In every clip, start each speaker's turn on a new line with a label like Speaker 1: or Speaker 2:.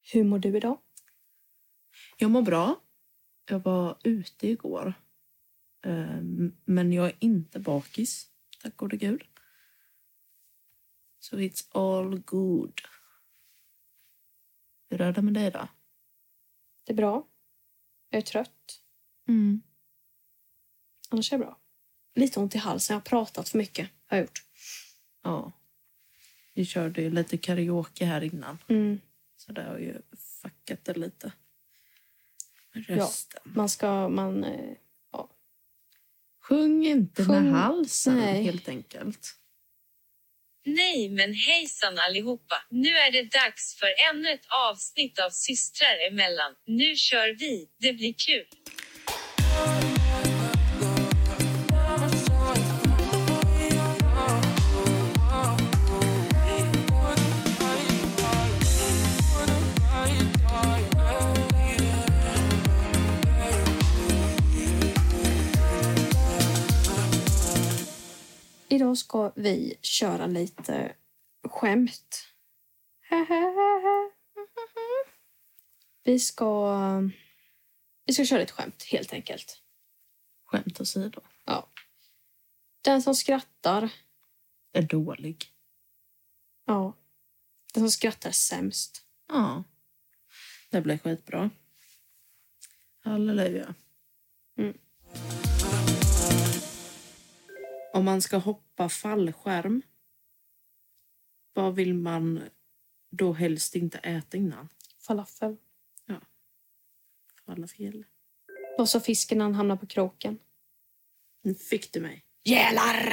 Speaker 1: Hur mår du idag?
Speaker 2: Jag mår bra. Jag var ute igår. Ehm, Men jag är inte bakis, tack gode gud. So it's all good. Hur är det med dig då?
Speaker 1: Det är bra. Jag är trött. Mm. Annars är jag bra. Lite ont i halsen. Jag har pratat för mycket. Har jag gjort.
Speaker 2: Ja. Vi körde ju lite karaoke här innan.
Speaker 1: Mm.
Speaker 2: Så det har ju fuckat det lite. Med
Speaker 1: Ja.
Speaker 2: rösten.
Speaker 1: Man ska... Man, eh,
Speaker 2: Sjung inte
Speaker 1: Sjung-
Speaker 2: med halsen
Speaker 1: Nej.
Speaker 2: helt enkelt.
Speaker 3: Nej men hejsan allihopa! Nu är det dags för ännu ett avsnitt av Systrar emellan. Nu kör vi, det blir kul!
Speaker 1: idag ska vi köra lite skämt. Vi ska... Vi ska köra lite skämt, helt enkelt.
Speaker 2: Skämt åsido.
Speaker 1: Den som skrattar...
Speaker 2: Är dålig.
Speaker 1: Ja. Den som skrattar sämst.
Speaker 2: Ja. Det blir skitbra. Halleluja.
Speaker 1: Mm.
Speaker 2: Om man ska hoppa fallskärm, vad vill man då helst inte äta innan?
Speaker 1: Falafel.
Speaker 2: Falafel.
Speaker 1: Vad sa fisken när han hamnade på kroken?
Speaker 2: Nu fick du mig.
Speaker 1: Gälar!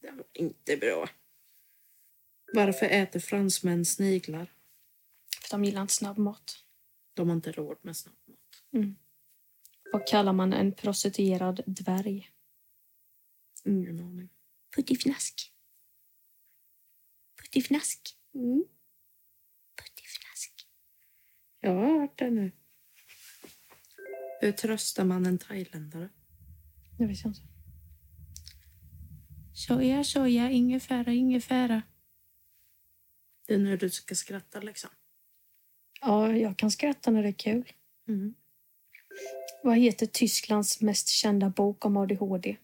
Speaker 2: Det var inte bra. Varför äter fransmän sniglar?
Speaker 1: För de gillar inte snabbmat.
Speaker 2: De har inte råd med snabbmat.
Speaker 1: Mm. Vad kallar man en prostituerad dvärg?
Speaker 2: Ingen aning.
Speaker 1: Puttifnask. Puttifnask.
Speaker 2: Mm.
Speaker 1: Puttifnask.
Speaker 2: Jag har hört det nu. Hur tröstar man en thailändare?
Speaker 1: Det vet jag inte.
Speaker 2: Soja, soja, ingefära, ingefära. Det är nu du ska skratta liksom.
Speaker 1: Ja, jag kan skratta när det är kul.
Speaker 2: Mm.
Speaker 1: Vad heter Tysklands mest kända bok om ADHD?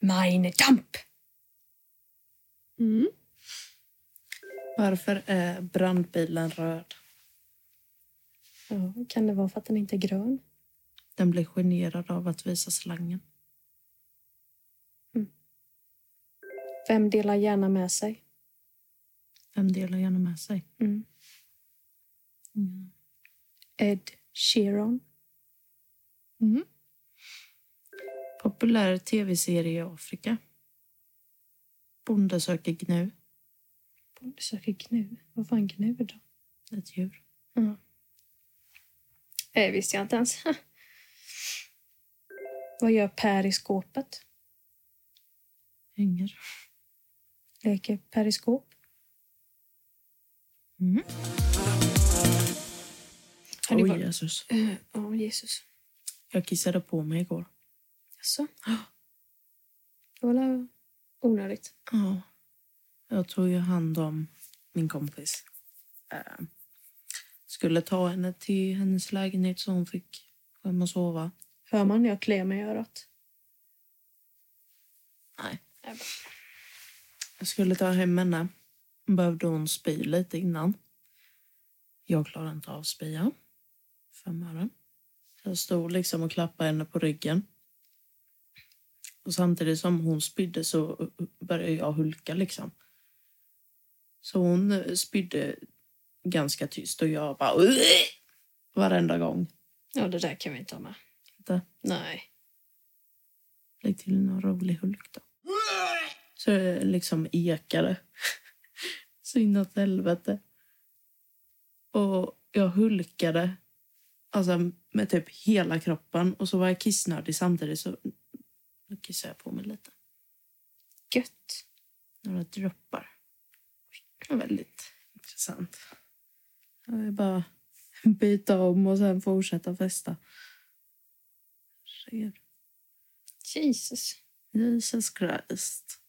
Speaker 1: Mein Kampf!
Speaker 2: Mm. Varför är brandbilen röd?
Speaker 1: Ja, kan det vara för att den inte är grön?
Speaker 2: Den blir generad av att visa slangen.
Speaker 1: Vem delar gärna med sig?
Speaker 2: Vem delar gärna med sig?
Speaker 1: Mm.
Speaker 2: Mm.
Speaker 1: Ed Sheeran.
Speaker 2: Mm. Populär tv-serie i Afrika. Bonde söker gnu.
Speaker 1: Bonde söker gnu. Vad fan gnu då?
Speaker 2: Ett djur.
Speaker 1: Det Eh, visste jag inte ens. Vad gör Per i skåpet?
Speaker 2: Hänger.
Speaker 1: Leker periskop.
Speaker 2: Mm.
Speaker 1: Ja, det
Speaker 2: Oj,
Speaker 1: var-
Speaker 2: Jesus.
Speaker 1: Eh, Ja, Jesus.
Speaker 2: Jag kissade på mig igår.
Speaker 1: Jaså? Det var väl onödigt.
Speaker 2: Ja. Jag tog ju hand om min kompis. Eh, skulle ta henne till hennes lägenhet så hon fick gå hem och sova.
Speaker 1: Hör man när jag kliar mig i örat?
Speaker 2: Nej.
Speaker 1: Nej, bra.
Speaker 2: Jag skulle ta hem henne. Behövde hon spy lite innan. Jag klarade inte av spya. Fem öre. Så jag stod liksom och klappade henne på ryggen. Och samtidigt som hon spydde så började jag hulka liksom. Så hon eh, spydde ganska tyst och jag bara "Ugh!" varenda gång.
Speaker 1: Ja, det där kan vi inte ha med.
Speaker 2: Inte.
Speaker 1: Nej.
Speaker 2: Lägg till någon rolig Hulk då. Så det liksom ekade. Så inåt helvete. Och jag hulkade. Alltså med typ hela kroppen. Och så var jag kissnödig samtidigt så nu kissade jag på mig lite.
Speaker 1: Gött.
Speaker 2: Några droppar. Det var väldigt intressant. Jag vill bara byta om och sen fortsätta festa. Herregud.
Speaker 1: Jesus.
Speaker 2: Jesus Christ.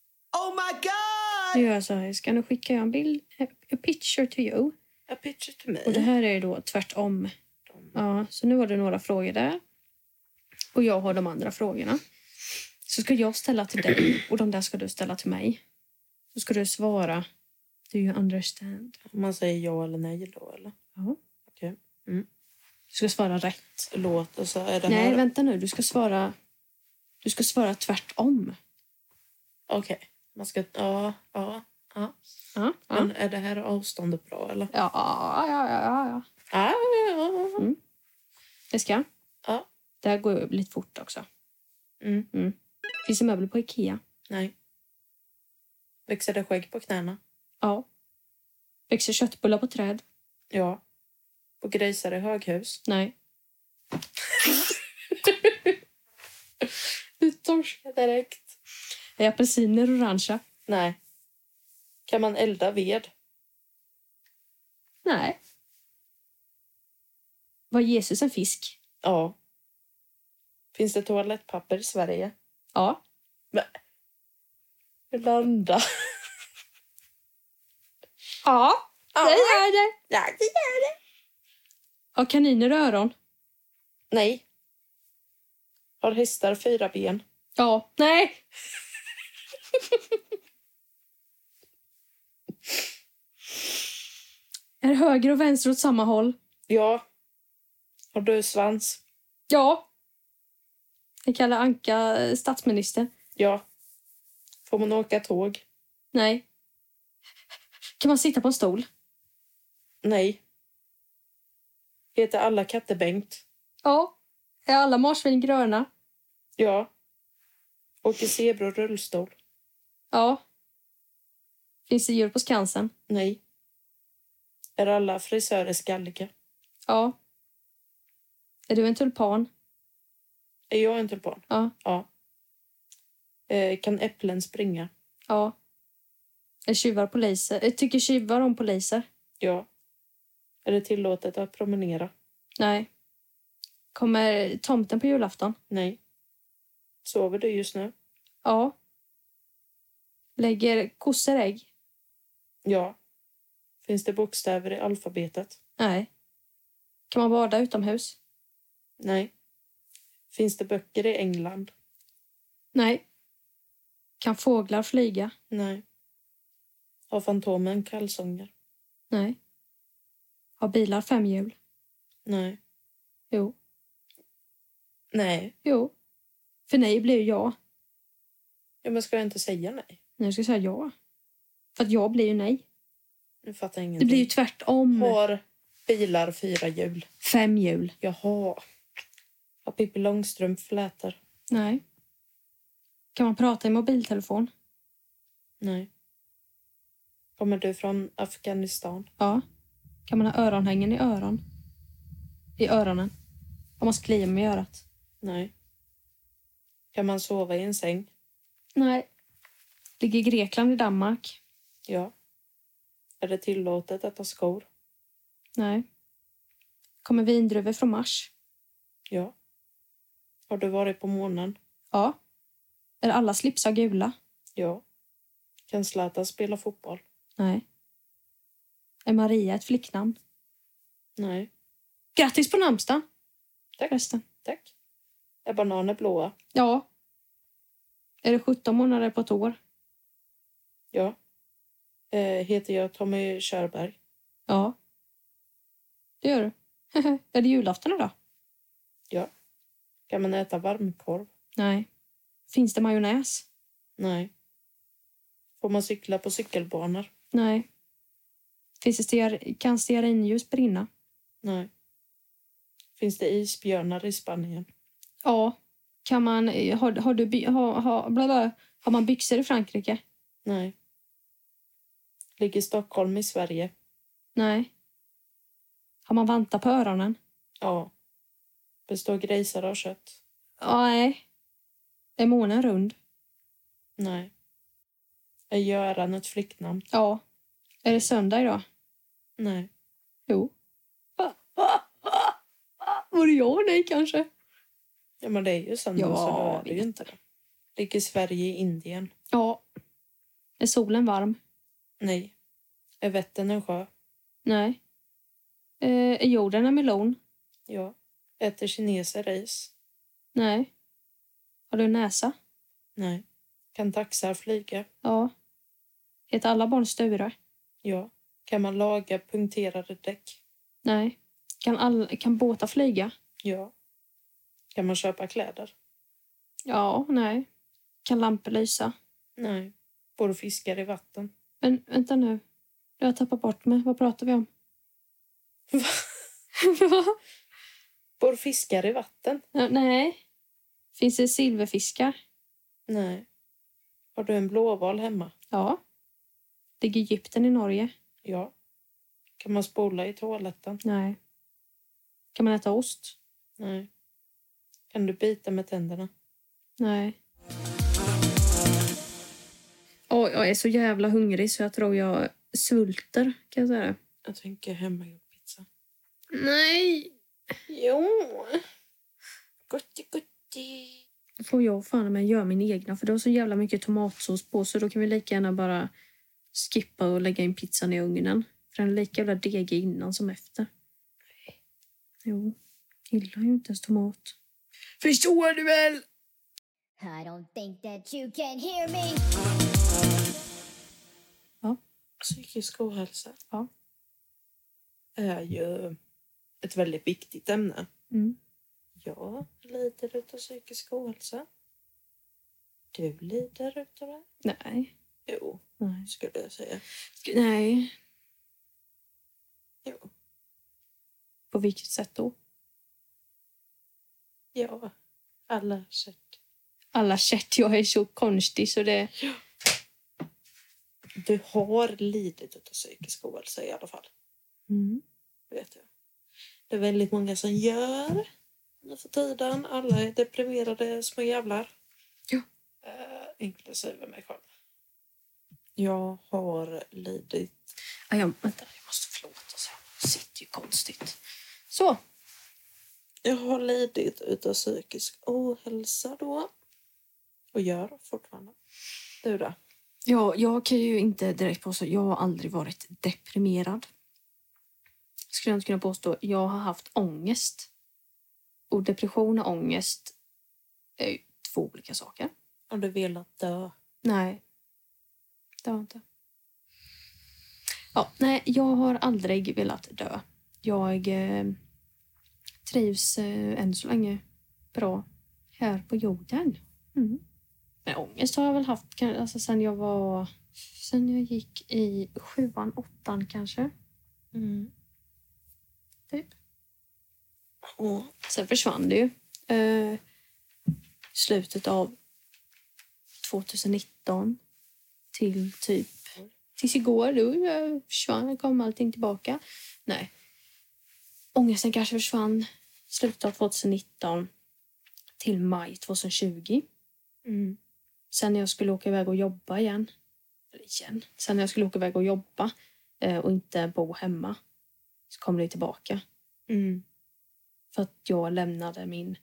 Speaker 1: Nu gör jag så här. Ska nu skicka en bild? A picture to you.
Speaker 2: A picture to me.
Speaker 1: Och det här är då tvärtom.
Speaker 2: De-
Speaker 1: Ja, så nu var det några frågor där. Och jag har de andra frågorna. Så ska jag ställa till dig och de där ska du ställa till mig. Så ska du svara. Do you understand?
Speaker 2: Man säger ja eller nej då eller?
Speaker 1: Ja.
Speaker 2: Okej.
Speaker 1: Du ska svara rätt.
Speaker 2: Låt alltså, är det
Speaker 1: Nej,
Speaker 2: här...
Speaker 1: vänta nu. Du ska svara... Du ska svara tvärtom.
Speaker 2: Okej. Man ska... Ja, ja.
Speaker 1: Ja, ja,
Speaker 2: Men är det här avståndet bra eller? Ah,
Speaker 1: ja, ja, ja, ja.
Speaker 2: Ja, ja, ja.
Speaker 1: Det ska jag.
Speaker 2: Ja.
Speaker 1: Det här går ju lite fort också.
Speaker 2: Mm.
Speaker 1: Finns det möbler på Ikea?
Speaker 2: Nej. Växer det skägg på knäna?
Speaker 1: Ja. Växer köttbullar på träd?
Speaker 2: Ja. Och grisar i höghus?
Speaker 1: Nej.
Speaker 2: Du torskar direkt.
Speaker 1: Är apelsiner orangea?
Speaker 2: Nej. Kan man elda ved?
Speaker 1: Nej. Var Jesus en fisk?
Speaker 2: Ja. Finns det toalettpapper i Sverige?
Speaker 1: Ja.
Speaker 2: Landa.
Speaker 1: Ja,
Speaker 2: det
Speaker 1: gör det.
Speaker 2: Nej.
Speaker 1: Har kaniner öron?
Speaker 2: Nej. Har hästar fyra ben?
Speaker 1: Ja. Nej. Är höger och vänster åt samma håll?
Speaker 2: Ja. Har du svans?
Speaker 1: Ja. Det kallar Anka eh, statsminister.
Speaker 2: Ja. Får man åka tåg?
Speaker 1: Nej. Kan man sitta på en stol?
Speaker 2: Nej. Heter alla katter Bengt?
Speaker 1: Ja. Är alla marsvin gröna?
Speaker 2: Ja. Åker zebror rullstol?
Speaker 1: Ja. Finns det djur på Skansen?
Speaker 2: Nej. Är alla frisörer skalliga?
Speaker 1: Ja. Är du en tulpan?
Speaker 2: Är jag en tulpan?
Speaker 1: Ja.
Speaker 2: ja. Eh, kan äpplen springa?
Speaker 1: Ja. Är tjuvar poliser? Eh, Tycker tjuvar om poliser?
Speaker 2: Ja. Är det tillåtet att promenera?
Speaker 1: Nej. Kommer tomten på julafton?
Speaker 2: Nej. Sover du just nu?
Speaker 1: Ja. Lägger kossor ägg?
Speaker 2: Ja. Finns det bokstäver i alfabetet?
Speaker 1: Nej. Kan man bada utomhus?
Speaker 2: Nej. Finns det böcker i England?
Speaker 1: Nej. Kan fåglar flyga?
Speaker 2: Nej. Har Fantomen kalsonger?
Speaker 1: Nej. Har bilar fem hjul?
Speaker 2: Nej.
Speaker 1: Jo.
Speaker 2: Nej.
Speaker 1: Jo. För nej blir ju ja.
Speaker 2: Ja, men ska jag inte säga nej?
Speaker 1: Nej, jag ska säga ja. För att jag blir ju nej.
Speaker 2: Nu fattar jag
Speaker 1: Det
Speaker 2: ingenting.
Speaker 1: blir ju tvärtom.
Speaker 2: Har bilar fyra hjul?
Speaker 1: Fem hjul.
Speaker 2: Jaha. Har Pippi Långstrump flätor?
Speaker 1: Nej. Kan man prata i mobiltelefon?
Speaker 2: Nej. Kommer du från Afghanistan?
Speaker 1: Ja. Kan man ha öronhängen i öron? I öronen? Om man skliar med örat?
Speaker 2: Nej. Kan man sova i en säng?
Speaker 1: Nej. Ligger Grekland i Danmark?
Speaker 2: Ja. Är det tillåtet att ha skor?
Speaker 1: Nej. Kommer vindruvor från Mars?
Speaker 2: Ja. Har du varit på månen?
Speaker 1: Ja. Är alla slipsar gula?
Speaker 2: Ja. Kan Zlatan spela fotboll?
Speaker 1: Nej. Är Maria ett flicknamn?
Speaker 2: Nej.
Speaker 1: Grattis på namnsdagen!
Speaker 2: Tack.
Speaker 1: Förresten.
Speaker 2: Tack. Är bananer blåa?
Speaker 1: Ja. Är det 17 månader på ett år?
Speaker 2: Ja. Eh, heter jag Tommy Körberg?
Speaker 1: Ja. Det gör du. är det julafton idag?
Speaker 2: Kan man äta varmkorv?
Speaker 1: Nej. Finns det majonnäs?
Speaker 2: Nej. Får man cykla på cykelbanor?
Speaker 1: Nej. Finns det stear- kan stearinljus brinna?
Speaker 2: Nej. Finns det isbjörnar i Spanien?
Speaker 1: Ja. Kan man, eh, har, har, du, by- har, har, bla bla, har man byxor i Frankrike?
Speaker 2: Nej. Ligger Stockholm i Sverige?
Speaker 1: Nej. Har man vantar på öronen?
Speaker 2: Ja. Består grisar av kött?
Speaker 1: Nej. Är månen rund?
Speaker 2: Nej. Är Göran ett flicknamn?
Speaker 1: Ja. Är det söndag idag?
Speaker 2: Nej.
Speaker 1: Jo. Var det jag? Nej, kanske.
Speaker 2: Ja, men det är ju söndag
Speaker 1: Ja,
Speaker 2: så då är det
Speaker 1: vet
Speaker 2: ju inte det. Ligger Sverige i Indien?
Speaker 1: Ja. Är solen varm?
Speaker 2: Nej. Är Vättern en sjö?
Speaker 1: Nej. Eh, är jorden en melon?
Speaker 2: Ja. Äter kineser ris?
Speaker 1: Nej. Har du en näsa?
Speaker 2: Nej. Kan taxar flyga?
Speaker 1: Ja. Heter alla barn Sture?
Speaker 2: Ja. Kan man laga punkterade däck?
Speaker 1: Nej. Kan, all, kan båtar flyga?
Speaker 2: Ja. Kan man köpa kläder?
Speaker 1: Ja, nej. Kan lampor lysa?
Speaker 2: Nej. Bor fiskar i vatten?
Speaker 1: Men vänta nu. Du har tappat bort mig. Vad pratar vi om?
Speaker 2: Va? Bor fiskar i vatten?
Speaker 1: Eh, nej. Finns det silverfiskar?
Speaker 2: Nej. Har du en blåval hemma?
Speaker 1: Ja. Ligger Egypten i Norge?
Speaker 2: Ja. Kan man spola i toaletten?
Speaker 1: Nej. Kan man äta ost?
Speaker 2: Nej. Kan du bita med tänderna?
Speaker 1: Nej. Åh, jag är så jävla hungrig så jag tror jag svulter. Kan jag säga det?
Speaker 2: Jag tänker hemmagjord pizza.
Speaker 1: Nej!
Speaker 2: Jo. Gotti, gotti.
Speaker 1: Då får jag fan men göra min egna för det har så jävla mycket tomatsås på så då kan vi lika gärna bara skippa och lägga in pizzan i ugnen. För den är lika jävla degig innan som efter. Jo, gillar ju inte ens tomat.
Speaker 2: Förstår du väl?
Speaker 4: I don't think that you can hear me.
Speaker 2: Psykisk ohälsa
Speaker 1: Ja.
Speaker 2: är ju ett väldigt viktigt ämne.
Speaker 1: Mm.
Speaker 2: Jag lider utav psykisk ohälsa. Du lider utav det.
Speaker 1: Nej.
Speaker 2: Jo,
Speaker 1: Nej.
Speaker 2: skulle jag säga.
Speaker 1: Sk- Nej.
Speaker 2: Jo.
Speaker 1: På vilket sätt då?
Speaker 2: Ja. Alla kött.
Speaker 1: Alla kärt jag är så konstig så det...
Speaker 2: Du har lidit utav psykisk ohälsa i alla fall.
Speaker 1: Mm.
Speaker 2: vet jag. Det är väldigt många som gör nu för tiden. Alla är deprimerade små jävlar.
Speaker 1: Ja.
Speaker 2: Eh, inklusive mig själv. Jag har lidit...
Speaker 1: Ah, Ja, jag, vänta, jag måste förlåta sig. Jag sitter ju konstigt. Så.
Speaker 2: Jag har lidit utav psykisk ohälsa då. Och gör fortfarande. Du då?
Speaker 1: Ja, jag kan ju inte direkt påstå. Jag har aldrig varit deprimerad. Skulle jag inte kunna påstå. Jag har haft ångest. Och depression och ångest är ju två olika saker.
Speaker 2: Har du velat dö?
Speaker 1: Nej. Det har jag inte. Ja, nej, jag har aldrig velat dö. Jag eh, trivs eh, än så länge bra här på jorden. Mm. Men ångest har jag väl haft kan- alltså, sen jag var... Sen jag gick i sjuan, åttan kanske.
Speaker 2: Mm.
Speaker 1: Typ.
Speaker 2: Åh,
Speaker 1: Sen försvann det ju. Eh, slutet av 2019 till typ tills igår. Då eh, försvann, kom allting tillbaka. Nej. Ångesten kanske försvann slutet av 2019 till maj 2020.
Speaker 2: Mm.
Speaker 1: Sen när jag skulle åka iväg och jobba igen. Eller igen. Sen när jag skulle åka iväg och jobba eh, och inte bo hemma så kom det tillbaka.
Speaker 2: Mm.
Speaker 1: För att jag lämnade min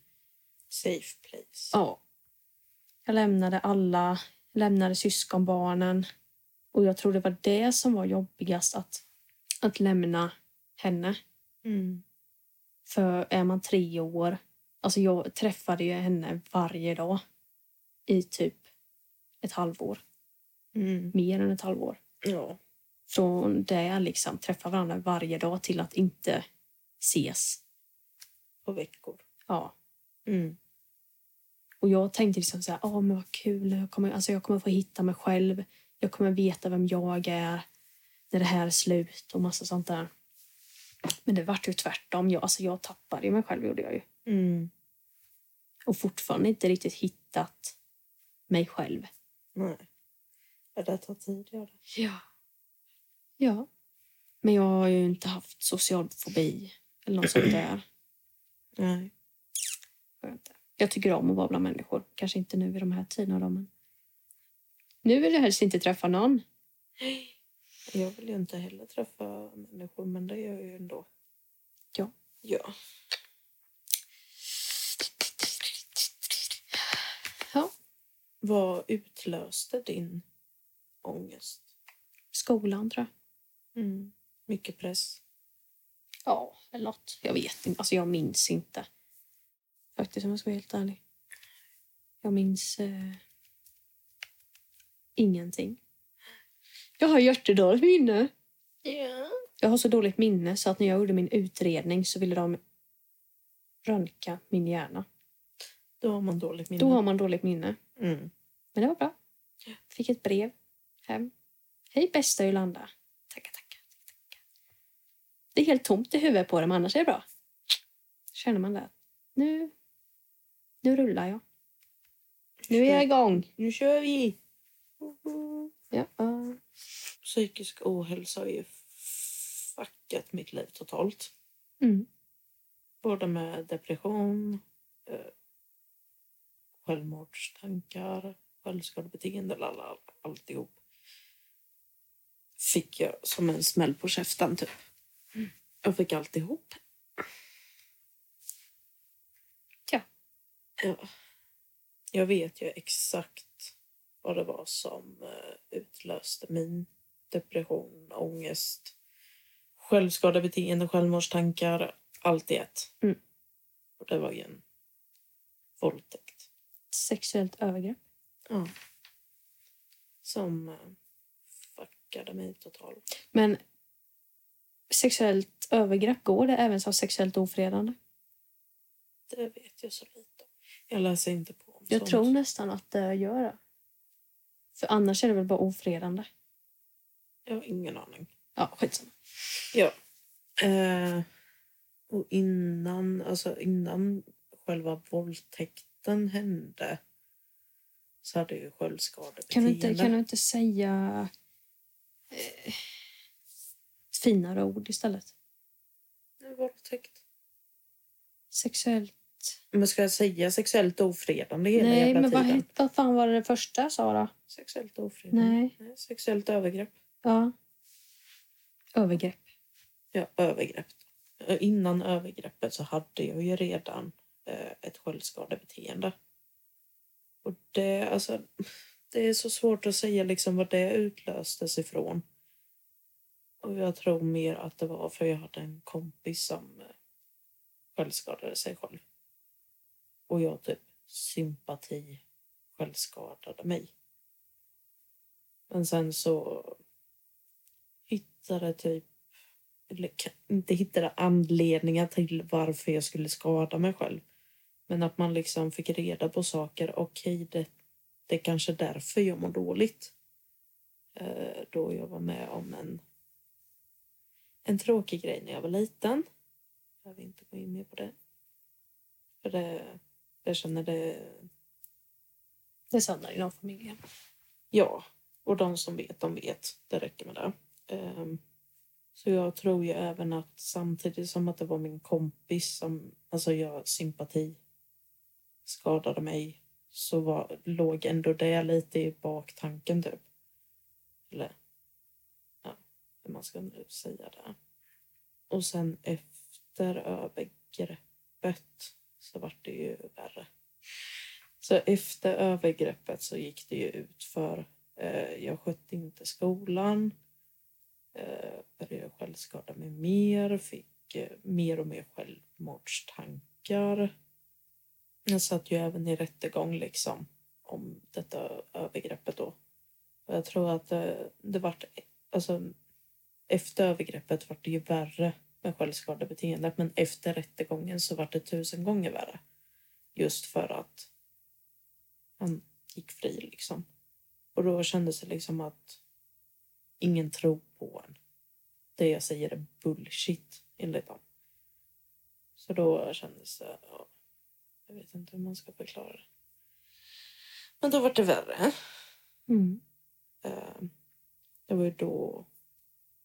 Speaker 2: Safe place.
Speaker 1: Ja. Jag lämnade alla, lämnade syskonbarnen. Och jag tror det var det som var jobbigast, att, att lämna henne.
Speaker 2: Mm.
Speaker 1: För är man tre år... Alltså jag träffade ju henne varje dag i typ ett halvår.
Speaker 2: Mm.
Speaker 1: Mer än ett halvår.
Speaker 2: Ja.
Speaker 1: Från det liksom, träffa varandra varje dag till att inte ses.
Speaker 2: På veckor.
Speaker 1: Ja.
Speaker 2: Mm.
Speaker 1: Och jag tänkte liksom så här, "Ah, men vad kul, jag kommer, alltså jag kommer få hitta mig själv. Jag kommer veta vem jag är när det här är slut och massa sånt där. Men det vart ju tvärtom. Jag, alltså jag tappade ju mig själv gjorde jag ju.
Speaker 2: Mm.
Speaker 1: Och fortfarande inte riktigt hittat mig själv.
Speaker 2: Nej. Ja, Det tar tid, gör det.
Speaker 1: Ja. Ja. Men jag har ju inte haft social fobi eller något sånt där.
Speaker 2: Nej.
Speaker 1: Har jag inte. Jag tycker om att vara bland människor. Kanske inte nu i de här tiderna då, men... Nu vill jag helst inte träffa någon.
Speaker 2: Jag vill ju inte heller träffa människor, men det gör jag ju ändå.
Speaker 1: Ja.
Speaker 2: Ja.
Speaker 1: Ja.
Speaker 2: Vad utlöste din ångest?
Speaker 1: Skolan tror jag.
Speaker 2: Mm. Mycket press.
Speaker 1: Ja, eller något. Jag vet inte. Alltså jag minns inte. Faktiskt om jag ska vara helt ärlig. Jag minns eh, ingenting. Jag har jättedåligt minne.
Speaker 2: Ja.
Speaker 1: Jag har så dåligt minne så att när jag gjorde min utredning så ville de röntga min hjärna.
Speaker 2: Då har man dåligt minne.
Speaker 1: Då har man dåligt minne.
Speaker 2: Mm.
Speaker 1: Men det var bra. Fick ett brev hem. Hej bästa Yolanda. Tackar, tackar. tackar. Det är helt tomt i huvudet på dem, annars är det bra. Känner man det. Nu, nu rullar jag. Nu är jag igång.
Speaker 2: Nu kör vi!
Speaker 1: Ja, ja.
Speaker 2: Psykisk ohälsa har ju fuckat mitt liv totalt.
Speaker 1: Mm.
Speaker 2: Både med depression, eh, självmordstankar, självskadebeteende, lala, alltihop. Fick jag som en smäll på käften typ.
Speaker 1: Mm.
Speaker 2: Jag fick alltihop.
Speaker 1: Ja.
Speaker 2: ja. Jag vet ju exakt vad det var som eh, utlöste min depression, ångest, självskadebeteende, självmordstankar, allt i ett.
Speaker 1: Mm.
Speaker 2: Och det var ju en våldtäkt.
Speaker 1: Sexuellt övergrepp.
Speaker 2: Ja. Som eh, fuckade mig totalt.
Speaker 1: Men sexuellt övergrepp går det även som sexuellt ofredande.
Speaker 2: Det vet jag så lite om. Jag läser inte på om
Speaker 1: Jag
Speaker 2: sånt.
Speaker 1: tror nästan att det gör det. För annars är det väl bara ofredande.
Speaker 2: Jag har ingen aning.
Speaker 1: Ja, skitsamma.
Speaker 2: Eh, och innan, alltså innan själva våldtäkten hände så hade jag ju självskadebeteende.
Speaker 1: Kan du inte, kan du inte säga eh, ett finare ord istället?
Speaker 2: Det var Våldtäkt.
Speaker 1: Sexuellt...
Speaker 2: Men ska jag säga sexuellt ofredande hela
Speaker 1: Nej,
Speaker 2: jävla
Speaker 1: men vad,
Speaker 2: tiden?
Speaker 1: het- vad fan var det första sa då?
Speaker 2: Sexuellt ofredande.
Speaker 1: Nej.
Speaker 2: Nej, Sexuellt övergrepp.
Speaker 1: Ja. Övergrepp.
Speaker 2: Ja, övergrepp. Eh, Innan övergreppet så hade jag ju redan eh, ett självskadebeteende. Och det, alltså, det är så svårt att säga liksom vad det utlöstes ifrån. Och jag tror mer att det var för jag hade en kompis som eh, självskadade sig själv. Och jag typ sympati självskadade mig. Men sen så hittade typ eller kan- inte hittade anledningar till varför jag skulle skada mig själv. Men att man liksom fick reda på saker. Okej, det, det är kanske därför jag mår dåligt. Eh, då jag var med om en, en tråkig grej när jag var liten. Jag vill inte gå in mer på det. För det, jag känner det
Speaker 1: Det sönder inom familjen.
Speaker 2: Ja, och de som vet, de vet. Det räcker med det. Ehm, så jag tror ju även att samtidigt som att det var min kompis som, alltså jag sympati skadade mig, så var, låg ändå det lite i baktanken typ. Eller, ja, hur man ska nu säga det. Och sen efter övergreppet så vart det ju värre. Så efter övergreppet så gick det ju ut för eh, jag skötte inte skolan. Eh, började självskada mig mer, fick eh, mer och mer självmordstankar. Jag satt ju även i rättegång liksom om detta övergreppet då. Och jag tror att eh, det vart, alltså efter övergreppet vart det ju värre med självskadebeteendet men efter rättegången så vart det tusen gånger värre. Just för att han gick fri liksom. Och då kändes det liksom att ingen tror på en. Det jag säger är bullshit enligt dem. Så då kändes det, ja, jag vet inte hur man ska förklara det. Men då var det värre.
Speaker 1: Mm.
Speaker 2: Eh, Det var ju då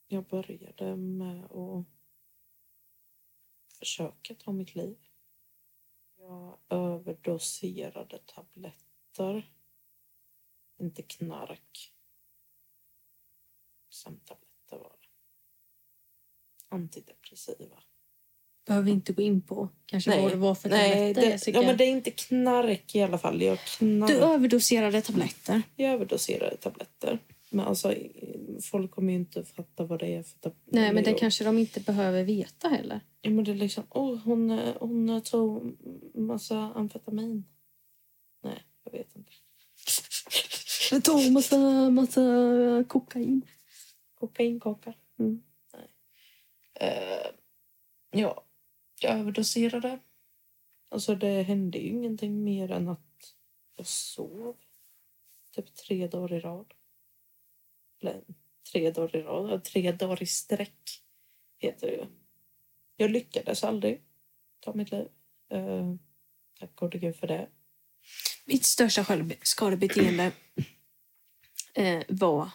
Speaker 2: jag började med att försöka ta mitt liv. Jag överdoserade tabletter. Inte knark. Sömntabletter var det. Antidepressiva.
Speaker 1: Behöver vi inte gå in på kanske
Speaker 2: Nej.
Speaker 1: vad det var för
Speaker 2: Nej,
Speaker 1: tabletter,
Speaker 2: det,
Speaker 1: Jessica.
Speaker 2: ja, men det är inte knark i alla fall. Jag,
Speaker 1: Du
Speaker 2: knark,
Speaker 1: överdoserade tabletter.
Speaker 2: jag överdoserade tabletter. Men alltså, i- folk kommer ju inte fatta vad det är. För att
Speaker 1: Nej, men det
Speaker 2: Jo.
Speaker 1: kanske de inte behöver veta heller.
Speaker 2: Ja, men det är liksom, oh, hon, eh, hon eh, tog massa amfetamin. Nej, jag vet inte.
Speaker 1: Jag tog massa, äh, massa kokain.
Speaker 2: Kokainkaka.
Speaker 1: Mm.
Speaker 2: Nej. Eh, ja, jag överdoserade. Alltså det hände ju ingenting mer än att jag sov. Typ tre dagar i rad. Eller tre dagar i rad, ja, tre dagar i sträck heter det ju. Jag lyckades aldrig ta mitt liv. Eh, tack gode gud för det.
Speaker 1: Mitt största självskadebeteende eh, var,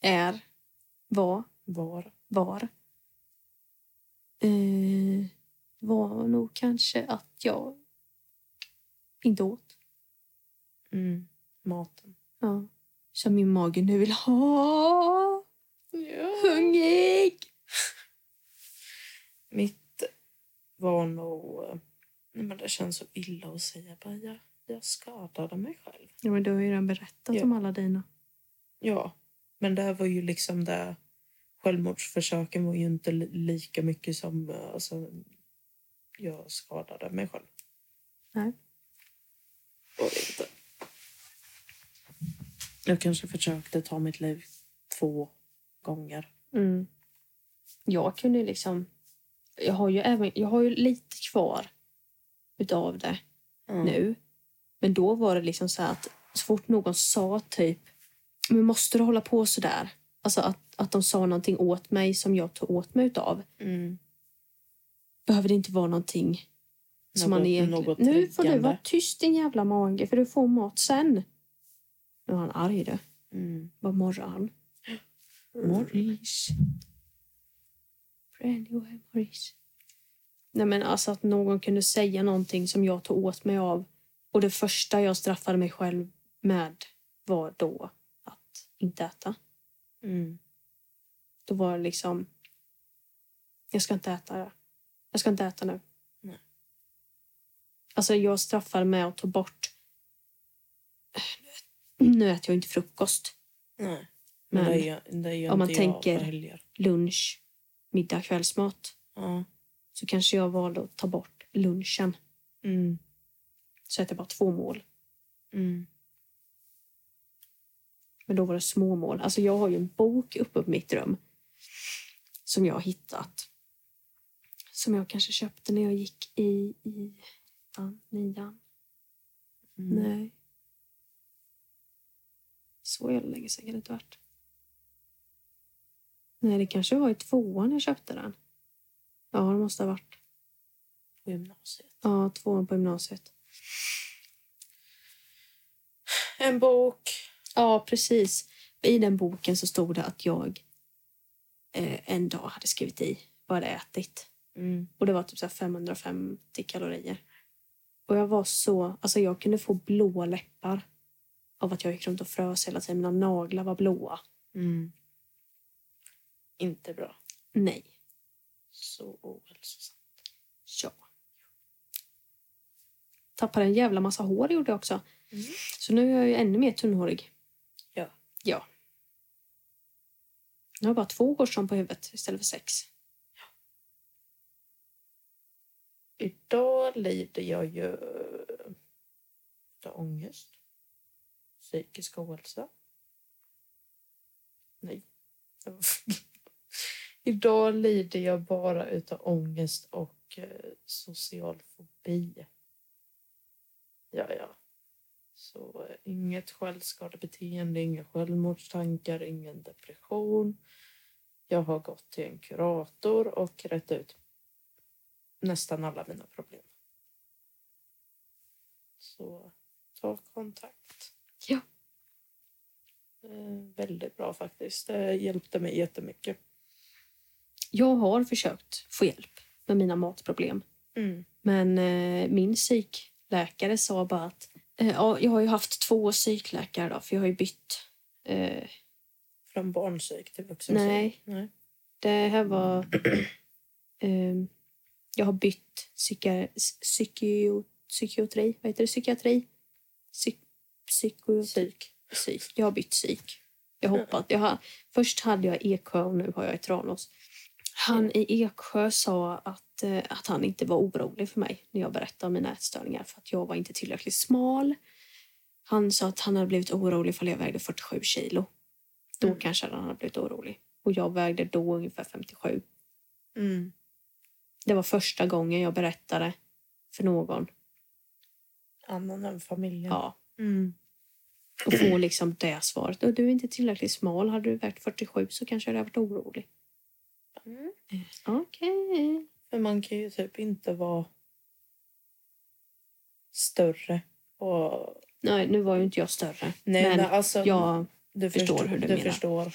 Speaker 1: är, var,
Speaker 2: Var.
Speaker 1: var. Eh, var nog kanske att jag inte åt.
Speaker 2: Mm. Maten.
Speaker 1: Ja. Som min mage nu vill ha. Hungrig!
Speaker 2: Mitt var nog... Nej, men det känns så illa att säga. Bara, jag, jag skadade mig själv.
Speaker 1: Ja, men du har ju redan berättat
Speaker 2: Ja.
Speaker 1: om alla dina.
Speaker 2: Ja, men det här var ju liksom det... Självmordsförsöken var ju inte li- lika mycket som... eh, Alltså, jag skadade mig själv.
Speaker 1: Nej.
Speaker 2: Var det inte. Jag kanske försökte ta mitt liv två gånger.
Speaker 1: Mm. Jag kunde ju liksom... Jag har ju, även, jag har ju lite kvar utav det
Speaker 2: Mm.
Speaker 1: nu. Men då var det liksom så här att så fort någon sa typ men måste du hålla på så där? Alltså att, att de sa någonting åt mig som jag tog åt mig utav.
Speaker 2: Mm.
Speaker 1: Behöver det inte vara någonting som
Speaker 2: Något-
Speaker 1: man egentligen...
Speaker 2: något
Speaker 1: nu får du
Speaker 2: triggande.
Speaker 1: vara tyst din jävla mage för du får mat sen. Nu är han arg du.
Speaker 2: Mm.
Speaker 1: Vad morrar han?
Speaker 2: Morris.
Speaker 1: Brandy och Morris. Nej men alltså att någon kunde säga någonting som jag tog åt mig av. Och det första jag straffade mig själv med var då att inte äta.
Speaker 2: Mm.
Speaker 1: Då var det liksom... Jag ska inte äta det. Jag ska inte äta nu.
Speaker 2: Nej.
Speaker 1: Alltså jag straffade med att ta bort... Nu äter jag inte frukost,
Speaker 2: Nej. Men,
Speaker 1: Men
Speaker 2: det gör, det gör
Speaker 1: om man
Speaker 2: inte jag
Speaker 1: tänker-
Speaker 2: på helger.
Speaker 1: lunch, middag, kvällsmat.
Speaker 2: Ja.
Speaker 1: Så kanske jag valde att ta bort lunchen.
Speaker 2: Mm.
Speaker 1: Så att det var två mål.
Speaker 2: Mm.
Speaker 1: Men då var det små mål. Alltså jag har ju en bok uppe på mitt rum som jag har hittat. Som jag kanske köpte när jag gick i, i ettan, nian.
Speaker 2: Mm.
Speaker 1: Nej. Så jävla länge sedan kan det inte ha varit. Nej, det kanske var i tvåan jag köpte den. Ja, det måste ha varit.
Speaker 2: På gymnasiet.
Speaker 1: Ja, tvåan på gymnasiet.
Speaker 2: En bok.
Speaker 1: Ja, precis. I den boken så stod det att jag eh, en dag hade skrivit i vad jag hade ätit.
Speaker 2: Mm.
Speaker 1: Och det var typ så här 550 kalorier. Och jag var så... Alltså jag kunde få blåa läppar av att jag gick runt och frös hela tiden. Mina naglar var blåa.
Speaker 2: Mm. Inte bra.
Speaker 1: Nej.
Speaker 2: Så ohälsosamt.
Speaker 1: Ja. Tappade en jävla massa hår gjorde jag också.
Speaker 2: Mm.
Speaker 1: Så nu är jag ju ännu mer tunnhårig.
Speaker 2: Ja.
Speaker 1: Ja. Nu har jag bara två hårstrån på huvudet istället för sex.
Speaker 2: Idag lider jag ju eh, utav ångest. Psykisk ohälsa. Nej. Idag lider jag bara utav ångest och eh, social fobi. Ja, ja. Så eh, inget självskadebeteende, inga självmordstankar, ingen depression. Jag har gått till en kurator och rätt ut nästan alla mina problem. Så ta kontakt.
Speaker 1: Ja.
Speaker 2: Eh, väldigt bra faktiskt. Det hjälpte mig jättemycket.
Speaker 1: Jag har försökt få hjälp med mina matproblem.
Speaker 2: Mm.
Speaker 1: Men eh, min psykläkare sa bara att... Eh, ja, jag har ju haft två psykläkare då, för jag har ju bytt. Eh,
Speaker 2: Från barnpsyk till vuxenpsyk.
Speaker 1: Nej.
Speaker 2: Nej.
Speaker 1: det här var... Eh, jag har bytt psyka, psykio, psykiatri. Vad heter det? Psykiatri? Psyk, psyko,
Speaker 2: Psyk.
Speaker 1: psyk. Jag har bytt psyk. Jag hoppas. Jag har, först hade jag Eksjö och nu har jag i Tranås. Han i Eksjö sa att, eh, att han inte var orolig för mig när jag berättade om mina ätstörningar för att jag var inte tillräckligt smal. Han sa att han hade blivit orolig för jag vägde 47 kilo. Då
Speaker 2: Mm.
Speaker 1: kanske han hade blivit orolig. Och jag vägde då ungefär 57.
Speaker 2: Mm.
Speaker 1: Det var första gången jag berättade för någon.
Speaker 2: Annan än familjen.
Speaker 1: Ja,
Speaker 2: Mm.
Speaker 1: och få liksom det svaret. Och du är inte tillräckligt smal. Hade du vägt 47 så kanske jag hade varit orolig.
Speaker 2: Mm.
Speaker 1: Okej.
Speaker 2: För man kan ju typ inte vara större. Och...
Speaker 1: Nej, nu var ju inte jag större.
Speaker 2: Nej, men,
Speaker 1: men
Speaker 2: alltså,
Speaker 1: jag...
Speaker 2: du
Speaker 1: förstår hur du
Speaker 2: du
Speaker 1: menar.
Speaker 2: Förstår.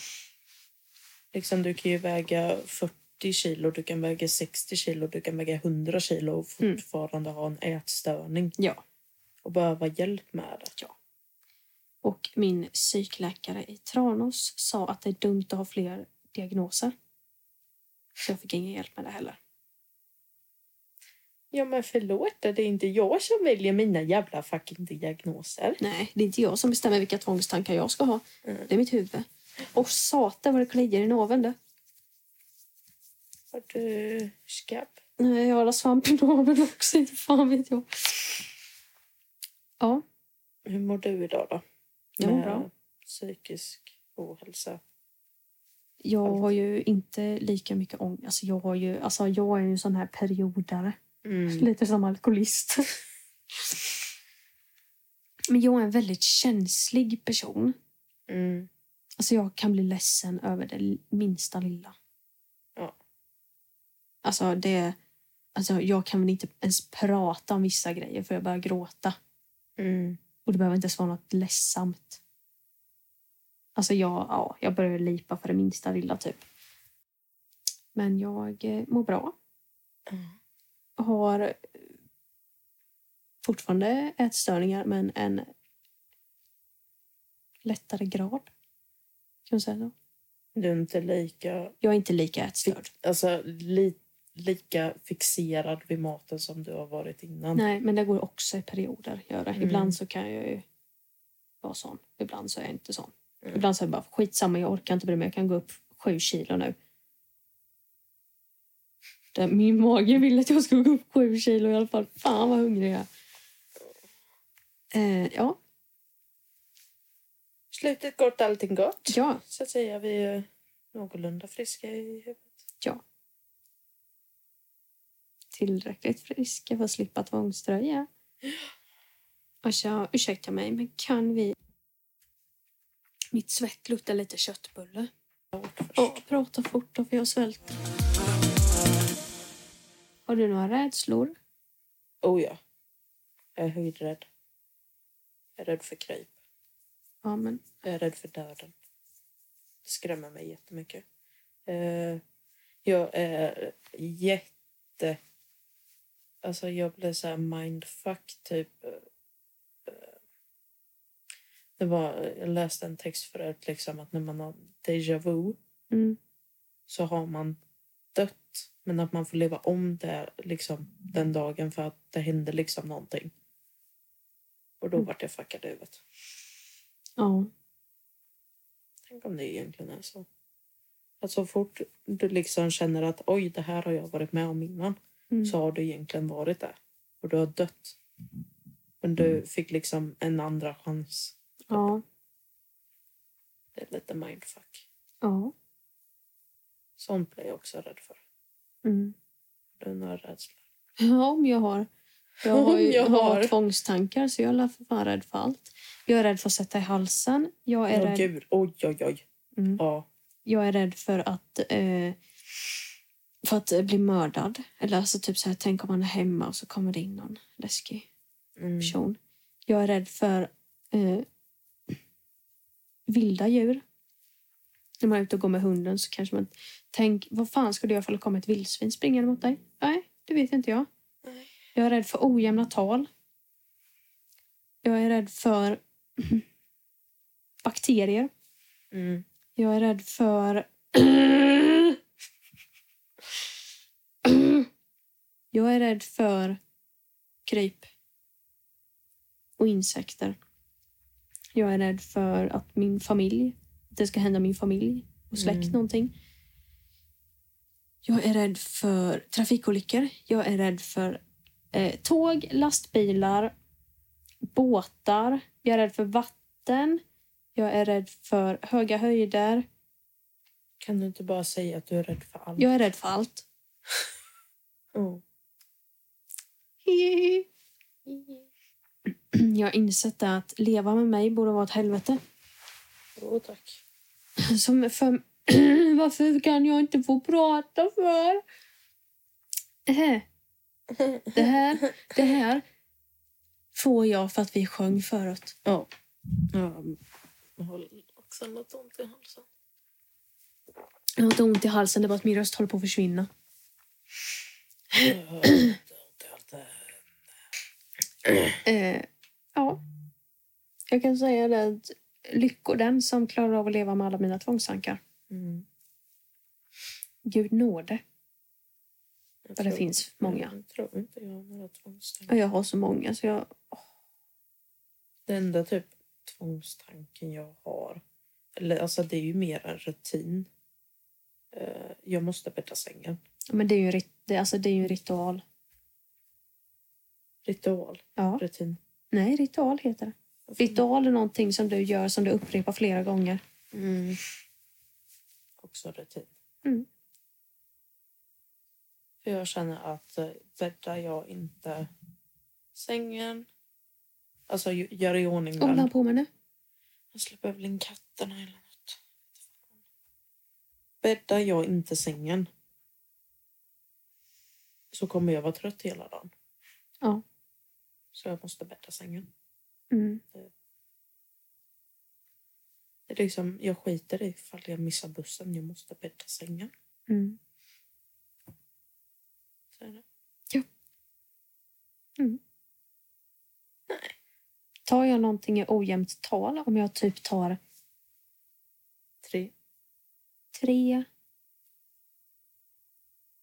Speaker 2: Liksom, du kan ju väga 40 kilo, du kan väga 60 kilo, du kan väga 100 kilo och
Speaker 1: Mm.
Speaker 2: fortfarande ha en ätstörning
Speaker 1: Ja.
Speaker 2: och behöva hjälp med det.
Speaker 1: Och min psykläkare i Tranås sa att det är dumt att ha fler diagnoser. Så jag fick ingen hjälp med det heller.
Speaker 2: Ja men förlåt, det är inte jag som väljer mina jävla fucking diagnoser.
Speaker 1: Nej, det är inte jag som bestämmer vilka tvångstankar jag ska ha.
Speaker 2: Mm.
Speaker 1: Det är mitt huvud. Och satan vad det kliar i naveln du.
Speaker 2: Har du skabb?
Speaker 1: Nej, jag har alla svamp i naveln också. Inte fan vet jag. Ja,
Speaker 2: Hur mår du idag då?
Speaker 1: jag mår
Speaker 2: Med
Speaker 1: bra.
Speaker 2: Psykisk ohälsa.
Speaker 1: Jag har ju inte lika mycket ångest. Alltså jag, har ju, alltså jag är ju en sån här periodare. Lite som alkoholist. Men jag är en väldigt känslig person.
Speaker 2: Mm.
Speaker 1: Alltså jag kan bli ledsen över det l- minsta lilla.
Speaker 2: Ja.
Speaker 1: Alltså det... Alltså jag kan väl inte ens prata om vissa grejer för jag börjar gråta.
Speaker 2: Mm.
Speaker 1: Och det behöver inte ens vara något ledsamt. Alltså jag, ja, jag börjar lipa för det minsta lilla typ. Men jag eh, mår bra.
Speaker 2: Mm.
Speaker 1: Har eh, fortfarande ätstörningar men en lättare grad. Kan man säga så?
Speaker 2: Du är inte lika,
Speaker 1: Jag är inte lika ätstörd.
Speaker 2: alltså, li, lika fixerad vid maten som du har varit innan.
Speaker 1: Nej, men det går också i perioder. Gör det.
Speaker 2: Mm.
Speaker 1: Ibland så kan jag ju vara sån. Ibland så är jag inte sån.
Speaker 2: Mm.
Speaker 1: Ibland så är jag bara skitsamma, jag orkar inte bry mig. Jag kan gå upp sju kilo nu. Det- Min mage ville att jag skulle gå upp sju kilo i alla fall. Fan vad hungrig jag är. Eh, ja.
Speaker 2: Slutet gott, allting gott.
Speaker 1: ja,
Speaker 2: Så att säga, vi är någorlunda friska i huvudet.
Speaker 1: tillräckligt frisk för att slippa tvångströja. Alltså, ursäkta mig, men kan vi... Mitt svett luktar lite köttbulle. Ja, prata fort då, för jag svälter. Har du några rädslor?
Speaker 2: Oh ja. Jag är höjdrädd. Jag är rädd för kryp.
Speaker 1: Ja, men
Speaker 2: Jag är rädd för döden. Det skrämmer mig jättemycket. Eh, jag är jätte... Alltså jag blev så här mindfuck typ. Eh, Det var, jag läste en text förut liksom att när man har déjà vu
Speaker 1: mm,
Speaker 2: så har man dött. Men att man får leva om det liksom den dagen för att det hände liksom någonting. Och då
Speaker 1: Mm.
Speaker 2: vart jag fuckad i huvudet.
Speaker 1: ja.
Speaker 2: Tänk om det egentligen är så. Att så fort du liksom känner att oj, det här har jag varit med om innan
Speaker 1: Mm,
Speaker 2: så har du egentligen varit där och du har dött. Men
Speaker 1: Mm.
Speaker 2: du fick liksom en andra chans.
Speaker 1: ja,
Speaker 2: Det är lite mindfuck.
Speaker 1: ja.
Speaker 2: Sånt blir jag också rädd för.
Speaker 1: Mm.
Speaker 2: Du har några rädslor.
Speaker 1: Ja, om jag har. Jag har, ju,
Speaker 2: Om jag
Speaker 1: jag har
Speaker 2: har.
Speaker 1: tvångstankar så jag är för fan rädd för allt. Jag är rädd för att sätta i halsen. Jag är
Speaker 2: Åh
Speaker 1: rädd,
Speaker 2: gud, oj, oj, oj.
Speaker 1: Mm.
Speaker 2: Ja.
Speaker 1: jag är rädd för att eh, för att eh, bli mördad. Eller alltså typ så här, tänk om man är hemma och så kommer det in någon läskig.
Speaker 2: Mm.
Speaker 1: person. Jag är rädd för eh, vilda djur. När man är ute och går med hunden så kanske man tänker, vad fan ska du göra ifall det kommer ett vildsvin springande mot dig? Nej, det vet inte jag.
Speaker 2: Nej.
Speaker 1: Jag är rädd för ojämna tal. Jag är rädd för bakterier.
Speaker 2: Mm.
Speaker 1: Jag är rädd för... Jag är rädd för kryp. Och insekter. Jag är rädd för att min familj det ska hända min familj och släkt
Speaker 2: Mm.
Speaker 1: någonting. Jag är rädd för trafikolyckor. Jag är rädd för eh, tåg, lastbilar, båtar. Jag är rädd för vatten. Jag är rädd för höga höjder.
Speaker 2: Kan du inte bara säga att du är rädd för allt?
Speaker 1: Jag är rädd för allt.
Speaker 2: Oh.
Speaker 1: Jag har insett det att leva med mig borde vara ett helvete.
Speaker 2: Jo, tack.
Speaker 1: Som för... Varför kan jag inte få prata för? Eh, Det här, det här får jag för att vi sjöng förut.
Speaker 2: Ja. ja. Jag har också något ont i halsen.
Speaker 1: Jag har inte ont i halsen, det är bara att min röst håller på att försvinna.
Speaker 2: Jag har inte ont i allt det här.
Speaker 1: Eh, ja. Jag kan säga det att lycko den som klarar av att leva med alla mina tvångstankar.
Speaker 2: Mm.
Speaker 1: Gud nåde.
Speaker 2: Jag
Speaker 1: Ja, det
Speaker 2: tror-
Speaker 1: finns många.
Speaker 2: Jag tror inte jag har några tvångstankar.
Speaker 1: Och jag har så många så jag...
Speaker 2: Den enda typ tvångstanken jag har, eller alltså det är ju mer en rutin. Eh, Jag måste bädda sängen.
Speaker 1: Ja, Men det är ju en, rit- det, alltså, det är ju en ritual.
Speaker 2: Ritual,
Speaker 1: Ja.
Speaker 2: rutin.
Speaker 1: Nej, ritual heter det. Ritual är någonting som du gör som du upprepar flera gånger.
Speaker 2: Mm. Också rutin.
Speaker 1: Mm.
Speaker 2: För jag känner att eh, bäddar jag inte sängen, alltså ju- gör i ordning
Speaker 1: Vad håller han
Speaker 2: den.
Speaker 1: på med nu?
Speaker 2: Jag släpper väl in katterna eller något. Bäddar jag inte sängen så kommer jag vara trött hela dagen.
Speaker 1: Ja.
Speaker 2: Så jag måste bädda sängen.
Speaker 1: Mm.
Speaker 2: Det är liksom, jag skiter i ifall jag missar bussen. Jag måste bädda sängen.
Speaker 1: Mm.
Speaker 2: Så är det.
Speaker 1: Tar jag någonting i ojämnt tal, om jag typ tar
Speaker 2: Tre.
Speaker 1: tre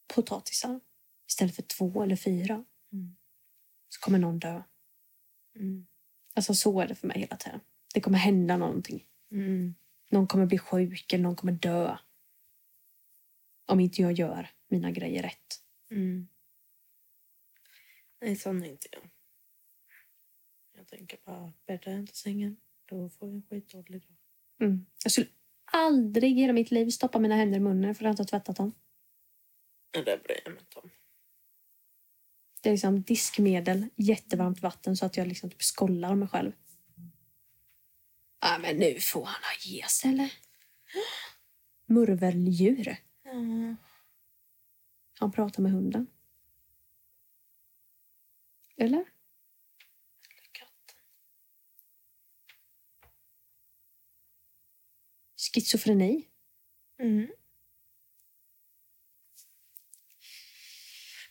Speaker 1: potatisar istället för två eller fyra
Speaker 2: Mm.
Speaker 1: så kommer någon dö.
Speaker 2: Mm.
Speaker 1: Alltså så är det för mig hela tiden. Det kommer hända någonting.
Speaker 2: Mm.
Speaker 1: Någon kommer bli sjuk eller någon kommer dö. Om inte jag gör mina grejer rätt.
Speaker 2: Mm. Nej, sån är inte jag. Jag tänker bara, bäddar jag inte sängen, då får jag en skitdålig dag.
Speaker 1: Mm. Jag skulle aldrig i hela mitt liv stoppa mina händer i munnen för att jag inte har tvättat dem.
Speaker 2: Nej, det bryr jag mig inte om.
Speaker 1: Det är liksom diskmedel, jättevarmt vatten så att jag liksom typ skollar mig själv. Ja, men nu får han ha ge sig, eller? Murveldjur. Han pratar med hunden. Eller?
Speaker 2: Katten.
Speaker 1: Schizofreni.
Speaker 2: Mm.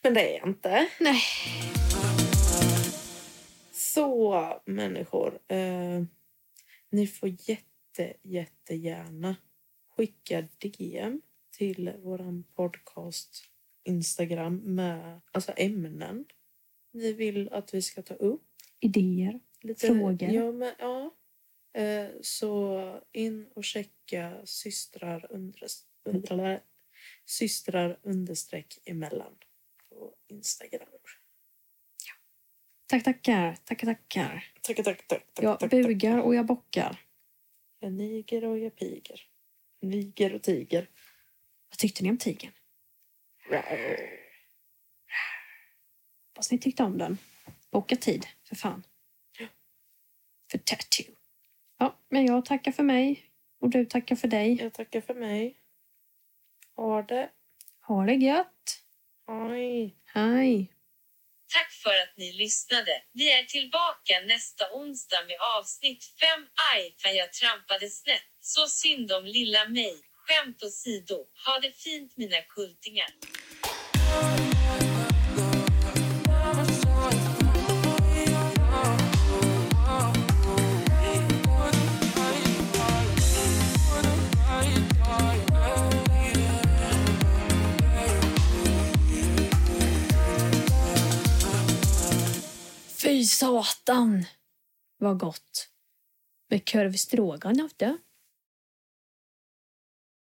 Speaker 2: Men det är jag inte.
Speaker 1: Nej.
Speaker 2: Så människor, eh, ni får jätte, jättegärna skicka DM till våran podcast Instagram med alltså ämnen ni vill att vi ska ta upp.
Speaker 1: Idéer.
Speaker 2: Lite,
Speaker 1: Frågor.
Speaker 2: Ja, men, ja. Eh, så in och checka systrar, under, under, systrar understreck emellan på Instagram.
Speaker 1: Tack, tackar. Tackar, tackar.
Speaker 2: Tack, tack, tack. tack,
Speaker 1: Jag
Speaker 2: tack,
Speaker 1: bugar
Speaker 2: Tack.
Speaker 1: och jag bockar.
Speaker 2: Jag niger och jag piger. Niger och tiger.
Speaker 1: Vad tyckte ni om tigern? Hoppas ni tyckte om den. Boka tid, för fan. För tattoo. Ja, men jag tackar för mig. Och du tackar för dig.
Speaker 2: Jag tackar för mig. Ha det.
Speaker 1: Ha det gött.
Speaker 2: Hej.
Speaker 1: Hej.
Speaker 3: Tack för att ni lyssnade. Vi är tillbaka nästa onsdag med avsnitt 5. Aj, fan jag trampade snett. Så synd om lilla mig. Skämt åsido. Ha det fint mina kultingar.
Speaker 1: Fy satan! Vad gott. Med korv stroganoff du.